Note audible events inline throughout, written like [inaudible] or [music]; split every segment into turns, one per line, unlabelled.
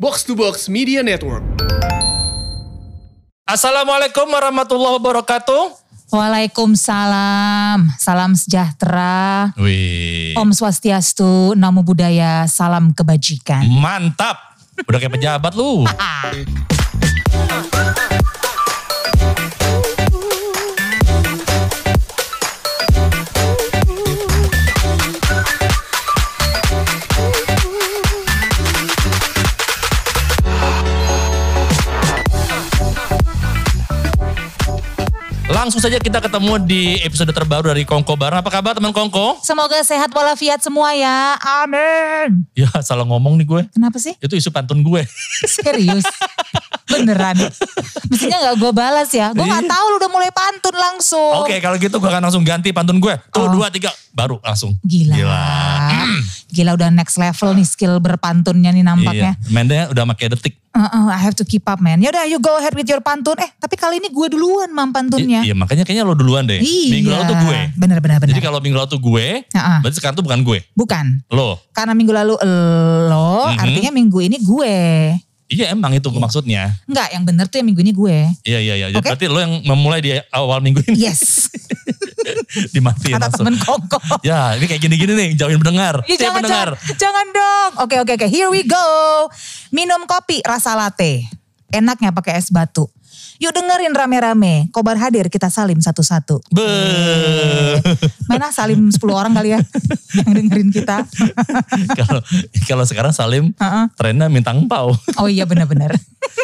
Box to Box Media Network.
Assalamualaikum warahmatullahi wabarakatuh.
Waalaikumsalam, salam sejahtera,
Wih,
Om Swastiastu, Namo Buddhaya, salam
Hmm.
kebajikan.
mantap. Udah kayak pejabat lu. Langsung saja kita ketemu di episode terbaru dari Kongko Bareng. Apa kabar teman Kongko?
Semoga sehat walafiat semua ya, amin.
Ya salah ngomong nih gue.
Kenapa sih?
Itu isu pantun gue. [laughs]
Serius? Beneran? Mestinya gak gue balas ya, gue gak tahu lu udah mulai pantun
Iya.
langsung.
Oke kalau gitu gue akan langsung ganti pantun gue. Tuh dua tiga baru langsung.
Oh. Gila.
Gila.
[clears throat] Gila. udah next level nih skill berpantunnya nih nampaknya.
Iya. Mainnya udah pakai detik.
Uh-uh, I have to keep up man. Yaudah you go ahead with your pantun. Eh tapi kali ini gue duluan mam pantunnya.
I- Iya makanya kayaknya lo duluan deh.
Iya.
Minggu lalu tuh gue.
Bener bener bener.
Jadi kalau minggu lalu tuh gue,
Ha-ha.
berarti sekarang tuh bukan gue.
Bukan.
Lo.
Karena minggu lalu lo,
Mhm.
artinya minggu ini gue.
Iya emang itu maksudnya.
Enggak, yang bener tuh yang minggu ini gue.
Iya iya iya.
Oke.
Berarti lo yang memulai di awal minggu ini
Yes.
[laughs] dimatiin
Kata
langsung.
temen
[laughs]
koko.
Ya ini kayak gini-gini nih jauhin pendengar.
Ih,
Saya
jangan,
pendengar.
jangan, jangan dong. Oke, oke, oke. Here we go. Minum kopi rasa latte. Enaknya pakai es batu. Yuk dengerin rame-rame. Kobar hadir, kita salim satu-satu.
Be. Eh.
Mana salim 10 orang kali ya [laughs] yang dengerin kita. [laughs] Iya.
[laughs] Kalau kalau sekarang Salim
Ha-ha.
trennya minta empau.
Oh iya benar-benar.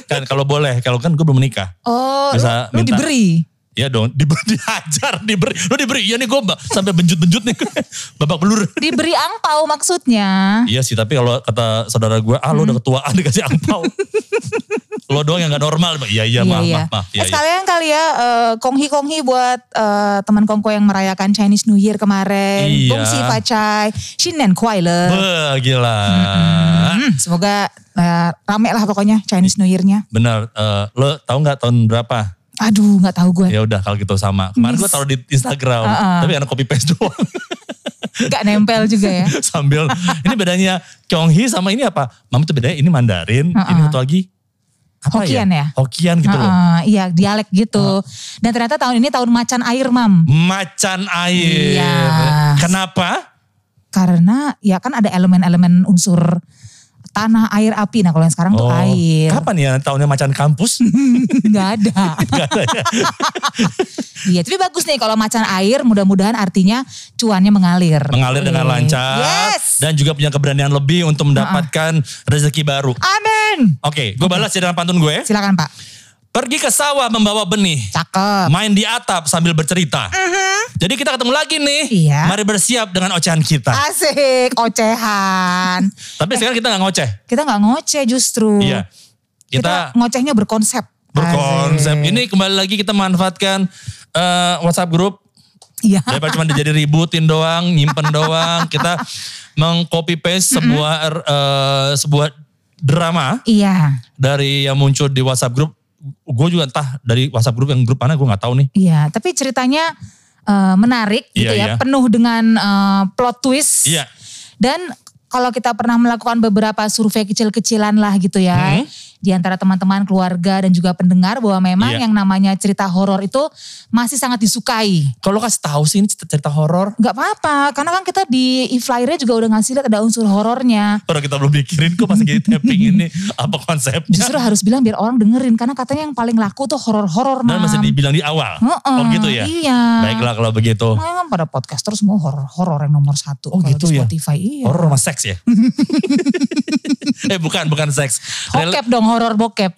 Kan kalau boleh, kalau kan gue belum menikah.
Oh, lu-
Bisa
lu,
minta-
diberi.
Iya dong, [laughs] diberi, dihajar, diberi. Lo diberi, iya nih gue sampai benjut-benjut nih. [laughs] Babak belur.
Diberi angpau maksudnya.
Iya sih, tapi kalau kata saudara gue, ah lo udah ketuaan [laughs] dikasih angpau. lo doang yang gak normal. Iya, iya, maaf, maaf, maaf. Iya,
eh,
iya.
sekalian kali ya eh, konghi-konghi buat eh, teman kongko yang merayakan Chinese New Year kemarin.
Iya.
Gongsi facai, Shinan Kuai Le.
Beuh, iya. gila.
Hmm, semoga eh, rame lah pokoknya Chinese New Year-nya.
Bener, eh, lo tahu gak tahun berapa?
Aduh nggak tahu gue,
Ya udah kalau gitu sama. Kemarin gue taruh di Instagram,
Heeh.
tapi karena copy paste doang.
nggak nempel juga ya.
Sambil, ini bedanya Kyonghi sama ini apa? Mama tuh bedanya ini Mandarin, ini satu lagi. Apa
Hokian ya?
Hokian [laughs] gitu loh.
Heeh, iya dialek gitu. Dan ternyata tahun ini tahun macan air mam.
Macan air.
Iya.
Kenapa?
Karena ya kan ada elemen-elemen unsur tanah, air, api. Nah kalau yang sekarang tuh
Oh,
air.
Kapan ya tahunnya macan
[laughs]
kampus?
nggak
[laughs]
ada. Iya, tapi bagus nih kalau macan air mudah-mudahan artinya cuannya mengalir.
Mengalir dengan
Oke.
lancar
Yes.
dan juga punya keberanian lebih untuk mendapatkan rezeki baru.
Amin.
Oke, gue balas ya dengan pantun gue.
Silakan Pak.
Pergi ke sawah membawa benih,
Cakep.
main di atap sambil bercerita. Jadi kita ketemu lagi nih.
Mhm. Iya. Ah.
Mari bersiap dengan ocehan kita.
Asik, ocehan.
Tapi sekarang kita nggak ngoceh.
Kita nggak ngoceh justru.
Iya. Kita,
Kita, ngocehnya berkonsep.
berkonsep.
Asik.
Ini kembali lagi kita manfaatkan eh, WhatsApp grup
Iya.
daripada cuma jadi ributin doang, nyimpen doang, kita mengcopy paste sebuah er, eh, sebuah drama
Iya.
dari yang muncul di WhatsApp grup. Gue juga entah dari WhatsApp grup yang grup mana gue nggak tahu nih.
Iya, tapi ceritanya eh, menarik
Iya,
gitu
iya.
ya, penuh dengan eh, plot twist.
Iya.
Dan kalau kita pernah melakukan beberapa survei kecil-kecilan lah gitu ya,
Hmm.
di antara teman-teman keluarga dan juga pendengar bahwa memang
Iya.
yang namanya cerita horor itu masih sangat disukai.
Kalau lo kasih tahu sih ini cerita, cerita horor.
Gak apa-apa, karena kan kita di flyer juga udah ngasih lihat ada unsur horornya.
Orang kita belum mikirin kok pas gini tapping ini apa konsepnya.
Justru harus bilang biar orang dengerin, karena katanya yang paling laku tuh horor-horor.
Dan
Mam.
masih dibilang di awal.
Heeh,
oh gitu ya.
Iya.
Baiklah kalau begitu.
Memang kan pada podcaster semua horor-horor yang nomor satu.
Oh,
Kalau
gitu
di
ya?
Spotify iya.
Horor sama
[laughs]
seks ya. eh bukan bukan seks. Rel- [laughs]
Bokep dong, horor bokep.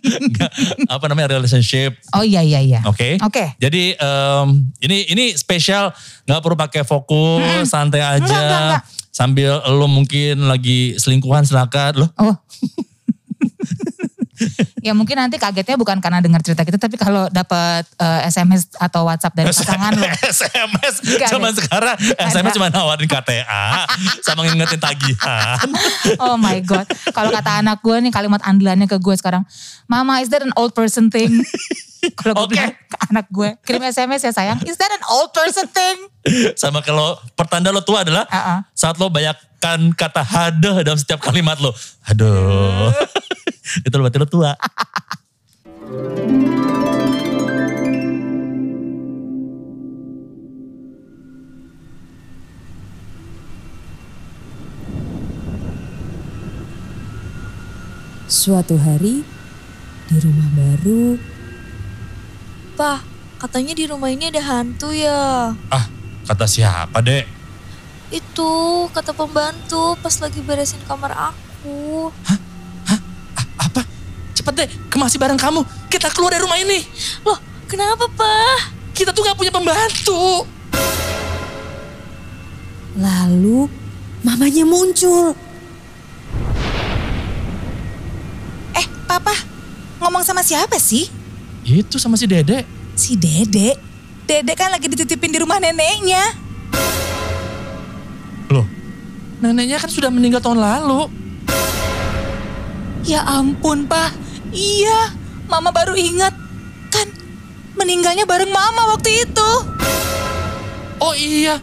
enggak, apa namanya relationship.
Oh iya iya iya.
Oke.
Oke.
Jadi em, ini ini spesial nggak perlu pakai fokus, santai aja.
Enggak, enggak, enggak.
[laughs] Sambil lo mungkin lagi selingkuhan silakan. Loh,
Oh, ya mungkin nanti kagetnya bukan karena dengar cerita kita tapi kalau dapat eh, SMS atau WhatsApp dari pasangan lo.
SMS
Enggak ada.
zaman sekarang SMS cuma nawarin KTA sama ngingetin
[laughs]
tagihan.
Oh my god. Kalau kata anak gue nih kalimat andalannya ke gue sekarang, "Mama, is that an old person
[laughs]
thing?" Kalau
Oke.
gue bilang ke anak gue, kirim SMS ya sayang, "Is that an old person thing?"
Sama kalau pertanda lo tua adalah
Uh-uh.
saat lo banyakkan kata hadeh dalam setiap kalimat lo. [laughs] Aduh. Itu berarti lo tua.
Suatu hari di rumah baru,
Pa, katanya di rumah ini ada hantu ya.
Ah, kata siapa, Dek?
Itu kata pembantu pas lagi beresin kamar aku.
Apa? Cepet deh, kemasi barang kamu. Kita keluar dari rumah ini.
Loh, kenapa Pa?
Kita tuh gak punya pembantu.
lalu mamanya muncul.
Eh, papa, ngomong sama siapa sih?
Itu sama si Dede.
Si Dede. Dede kan lagi dititipin di rumah neneknya.
Loh, neneknya kan sudah meninggal tahun lalu.
Ya ampun, Pak. Iya, Mama baru ingat. Kan meninggalnya bareng Mama waktu itu.
Oh iya,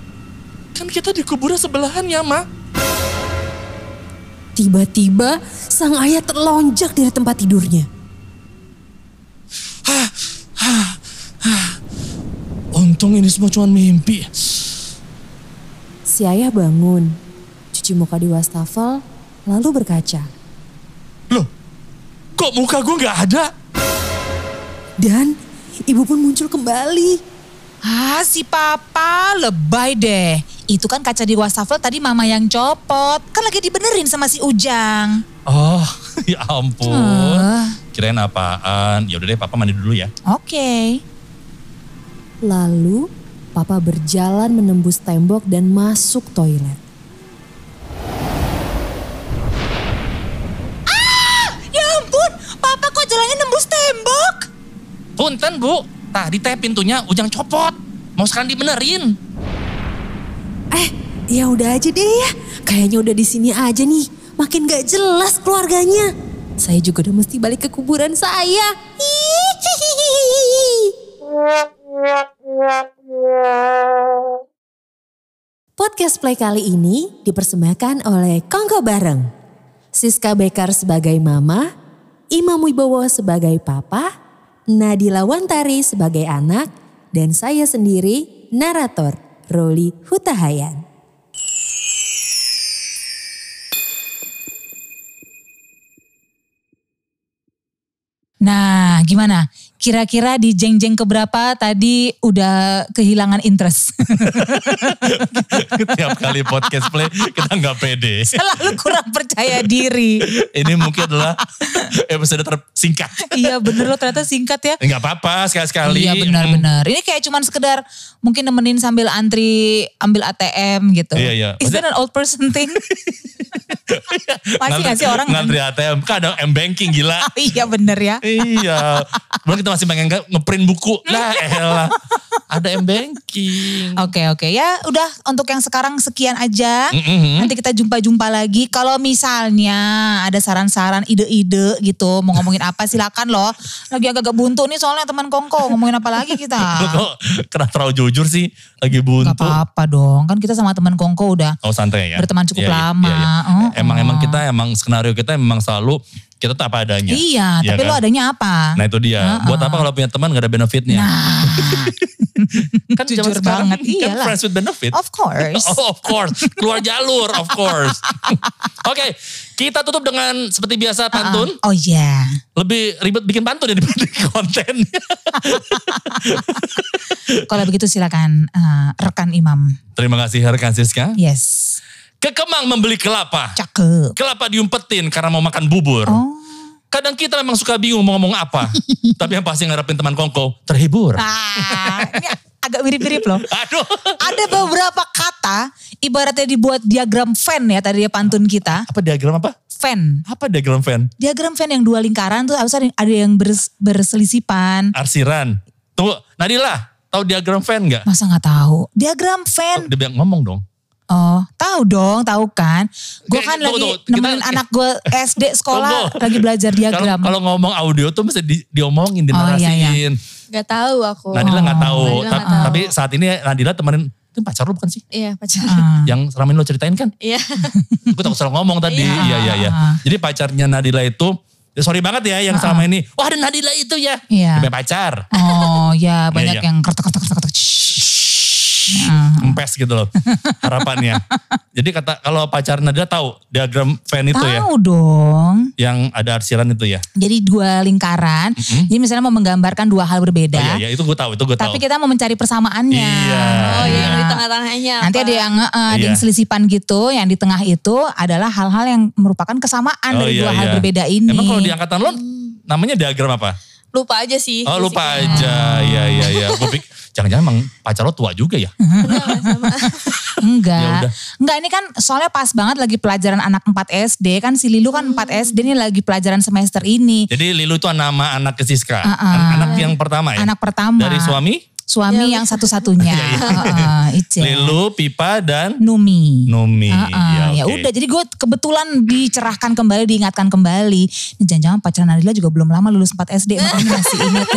kan kita di kuburan sebelahannya, Ma.
Tiba-tiba sang ayah terlonjak dari tempat tidurnya.
Untung ini semua cuma mimpi.
Si ayah bangun, cuci muka di wastafel, lalu berkaca.
Loh, kok muka gue gak ada?
Dan ibu pun muncul kembali.
Ah, si Papa lebay deh. Itu kan kaca di wastafel tadi Mama yang copot. Kan lagi dibenerin sama si Ujang.
Oh, [laughs] ya ampun.
Ah.
Kirain apaan. Ya udah deh, Papa mandi dulu ya.
Oke.
Lalu papa berjalan menembus tembok dan masuk toilet.
Ya ampun, Papa kok jalannya nembus tembok?
Punten, Bu. Tadi teh pintunya Ujang copot. Mau sekarang dibenerin.
Eh, ya udah aja deh ya. Kayaknya udah di sini aja nih. Makin gak jelas keluarganya. Saya juga udah mesti balik ke kuburan saya. Hihihihi. Podcast Play kali ini dipersembahkan oleh Kongko Bareng. Siska Bekar sebagai mama, Imam Wibowo sebagai papa, Nadila Wantari sebagai anak, dan saya sendiri narator Roli Hutahayan.
Nah, gimana? Kira-kira di jeng-jeng keberapa tadi udah kehilangan interest?
[laughs]
[laughs]
Tiap kali podcast play, kita nggak [laughs] pede.
Selalu kurang percaya diri.
Ini mungkin adalah episode tersingkat.
iya bener lo ternyata singkat ya.
Nggak apa-apa, sekali-sekali.
Iya benar-benar. Ini kayak cuman sekedar mungkin nemenin sambil antri ambil ATM gitu.
Iya, iya.
Is that an old person thing? [laughs] Masih nggak sih orang?
Hmm. Ngantri ATM, kan ada M-Banking
[laughs]
gila.
iya bener ya.
iya. Belum kita masih pengen nge- ngeprint buku. Lah elah. Ada M-Banking.
Oke oke ya udah untuk yang sekarang sekian aja.
Mm-mm.
Nanti kita jumpa-jumpa lagi. Kalau misalnya ada saran-saran, ide-ide gitu, mau ngomongin apa silakan loh. Lagi agak-agak buntu nih soalnya teman Kongko ngomongin apa lagi
[laughs]
kita.
Lu kok kena terlalu jujur sih? Lagi buntu.
Gak Ah. apa-apa dong, kan kita sama teman Kongko udah
Oh santai ya.
Berteman
Iya,
cukup
iya,
lama.
iya, iya.
Oh,
Emang
oh.
emang kita emang skenario kita emang selalu kita tak apa adanya.
Iya,
Iya
tapi Ah.
kan?
lo adanya apa?
Nah itu dia. Buat apa kalau punya teman gak ada benefitnya? [laughs] kan
Nah, jujur
zaman sekarang
banget,
kan
iyalah.
friends with benefit.
Of course.
Oh, [laughs] of course. Keluar jalur, of
[laughs]
course. Oke, kita tutup dengan seperti biasa pantun.
Oh iya.
Lebih ribet bikin pantun ya dibanding [laughs] kontennya.
Kalau begitu silakan eh, rekan Imam.
Terima kasih rekan Siska.
Yes.
Ke Kemang membeli kelapa.
Cakep.
Kelapa diumpetin karena mau makan bubur.
Oh.
Kadang kita memang suka bingung mau ngomong
[laughs]
apa. Tapi yang pasti ngarepin teman kongko, terhibur.
Ah, ini agak mirip-mirip
[laughs]
loh.
Aduh.
Ada beberapa kata ibaratnya dibuat diagram fan ya tadi ya pantun kita.
Apa diagram apa?
Fan.
Apa diagram fan?
Diagram fan yang dua lingkaran tuh harus ada, ada yang bers- berselisipan.
Arsiran. Tunggu, Nadila, tahu diagram fan nggak?
Masa nggak tahu? Diagram fan.
Dia bilang ngomong dong.
Oh, tahu dong, tahu kan. Gue
Oke,
kan
tunggu,
lagi
tunggu. Kita- ya.
nemenin anak gue SD sekolah
Tunggu.
lagi belajar diagram.
Kalau kalau ngomong audio tuh mesti di- diomongin,
Oh, iya, Oh, iya.
dinarasiin.
Gak tahu aku.
Nadila nggak tahu.
Nadila
Ta-
nggak tahu.
Tapi saat ini Nadila temenin, itu pacar lu bukan sih?
Iya pacar.
Ah.
Yang selama ini lo ceritain kan? [laughs]
Iya.
Gue takut salah ngomong tadi.
Iya.
Iya, iya, iya. Jadi pacarnya Nadila itu, ya sorry banget ya yang selama ini, wah ada Nadila itu ya. Dia
Iya.
punya pacar.
Oh ya banyak
iya.
yang kertek kertek kertek. Shhh.
Empes gitu loh harapannya. Jadi kata kalau pacar Nadila tahu diagram fan itu ya.
Tahu dong.
Yang ada arsiran itu ya.
Jadi dua lingkaran. Jadi misalnya mau menggambarkan dua hal berbeda.
Mm-hmm. Oh iya, iya itu gue tahu, itu gue tahu.
Ya. Tapi kita mau mencari persamaannya.
Iya.
Oh iya
Nah,
di tengah-tengahnya.
Nanti
apa?
ada yang eh, ada
Iya.
yang selisipan gitu, yang di tengah itu adalah hal-hal yang merupakan kesamaan
Oh,
dari
iya,
kan dua hal
iya.
berbeda ini.
Emang kalau di angkatan lo namanya diagram apa?
lupa aja sih.
Iya
Oh lupa
basicnya.
aja, iya iya iya. Gue pikir, jangan-jangan emang pacar lo tua juga ya?
Hmm.
Ya
Enggak.
udah.
Enggak ini kan soalnya pas banget lagi pelajaran anak 4 SD kan si Lilu kan 4 SD ini lagi pelajaran semester ini.
Jadi Lilu itu nama anak ke Siska.
Ah, ah.
An- Anak yang pertama ya?
Anak pertama.
Dari suami?
Suami yang
[laughs]
satu-satunya. Heeh, Ice.
Lilu, Pipa, dan
Numi.
Numi. iya,
Heeh, ya,
oke.
udah jadi gue kebetulan dicerahkan kembali diingatkan kembali ini jangan-jangan pacaran Nadila juga belum lama lulus 4 SD makanya masih ingat
[laughs]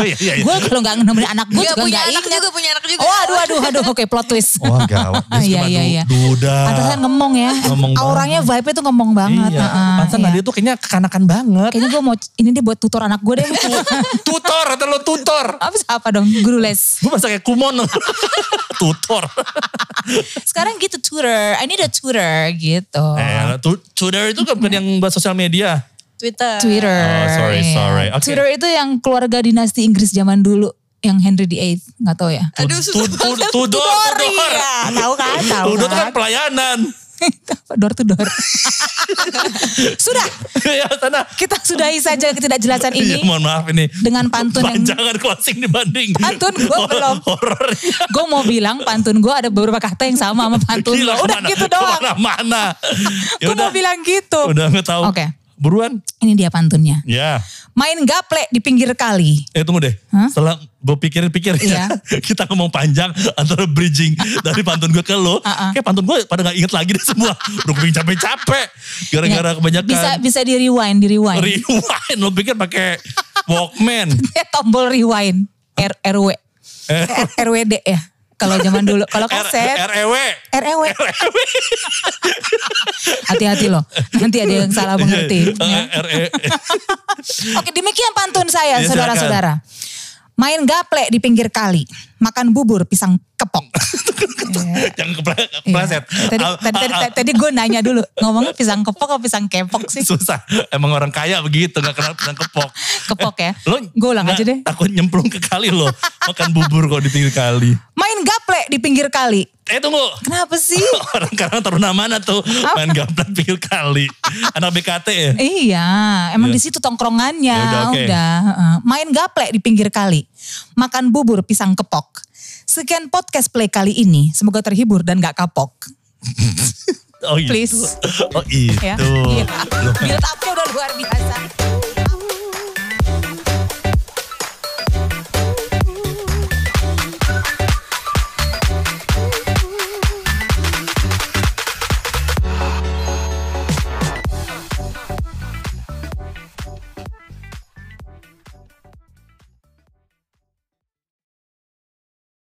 Oh, iya, iya, iya.
gue kalau nggak nemenin anak gue
Nggak
juga
punya
nggak
anak
ingat
juga, punya anak juga.
oh aduh aduh aduh oke plot twist
Wah Oh, gawat. Dia
[laughs] Iya,
suka
iya,
du-
iya.
duda.
Pantesan ngemong ya
Ngomong
auranya vibe-nya tuh ngomong banget
Iya.
heeh,
Pantesan
iya.
Nadia tuh kayaknya kekanakan banget.
kayaknya gue mau ini dia buat tutor anak gue deh
tutor, atau lo tutor.
apa apa dong guru les
Gue masa kayak kumon. [laughs] tutor.
sekarang gitu tutor I need a tutor gitu
Eh, tu- tutor itu kan bukan yang buat sosial media.
Twitter.
Twitter
Oh, sorry,
iya.
sorry. Oke.
Twitter itu yang keluarga dinasti Inggris zaman dulu yang Henry VIII nggak tahu ya
Aduh susah.
Tu- tu- Tudor, tudor.
Iya, tahu kan, tahu
Tudor itu
kan.
kan pelayanan.
[laughs]
[laughs]
door to door. Sudah,
ya sana.
kita sudahi saja ketidakjelasan
Iya,
ini.
mohon maaf ini.
Dengan pantun yang-
Panjangan closing dibanding.
Pantun gua
Hor-
belum.
Horornya. [laughs]
Gue mau bilang pantun gue ada beberapa kata yang sama sama pantun
Gila,
lo. Udah
kemana-
gitu doang.
Kemana-mana.
[laughs]
Ya
Gue mau
udah,
bilang gitu.
Udah nggak tahu.
Oke.
Buruan.
Ini dia pantunnya.
Ya.
Main gaplek di pinggir kali.
Eh tunggu deh. Setelah gue pikir-pikir ya.
Iya.
[laughs] Kita ngomong panjang antara
[laughs]
bridging dari pantun gue ke lo.
Uh-uh.
Kayak pantun gue pada gak inget lagi deh semua. Udah gue bikin capek-capek. Gara-gara
Ya,
kebanyakan.
Bisa bisa di rewind, di rewind.
[laughs]
[laughs]
Rewind. Lo pikir pakai Walkman.
Eh, tombol rewind. R RW.
Eh,
[laughs] R- RWD ya. Kalau zaman dulu,
[laughs]
kalau
R-
kaset
REW.
REW. Hati-hati loh. Nanti ada yang salah mengerti. ya.
Iya, [laughs] Eh, RE.
[laughs] Oke demikian pantun saya
Iya,
saudara-saudara. Main gaplek di pinggir kali, makan bubur pisang kepok.
Yang kepre-
Iya.
kepleset.
Tadi,
Ah,
tadi, tadi,
ah, ah.
tadi gue nanya dulu, ngomong pisang kepok atau pisang kepok sih?
[laughs] Susah. Emang orang kaya begitu. Gak kenal pisang kepok.
Kepok ya.
Lo
Gue ulang
nggak
aja deh.
Takut nyemplung ke kali lo. Makan bubur kalau di pinggir kali.
Main gaplek di pinggir kali.
Eh tunggu. [laughs]
Kenapa sih?
Orang karena taruna mana tuh main gaplek pinggir kali. Anak BKT ya.
iya, emang di situ tongkrongannya.
Ya udah,
udah,
oke.
heeh. Main gaplek di pinggir kali, makan bubur pisang kepok. Sekian podcast play kali ini, semoga terhibur dan gak kapok.
Oh itu.
Please.
Oh itu.
ya. Iya.
Loh,
Build up-nya udah luar biasa.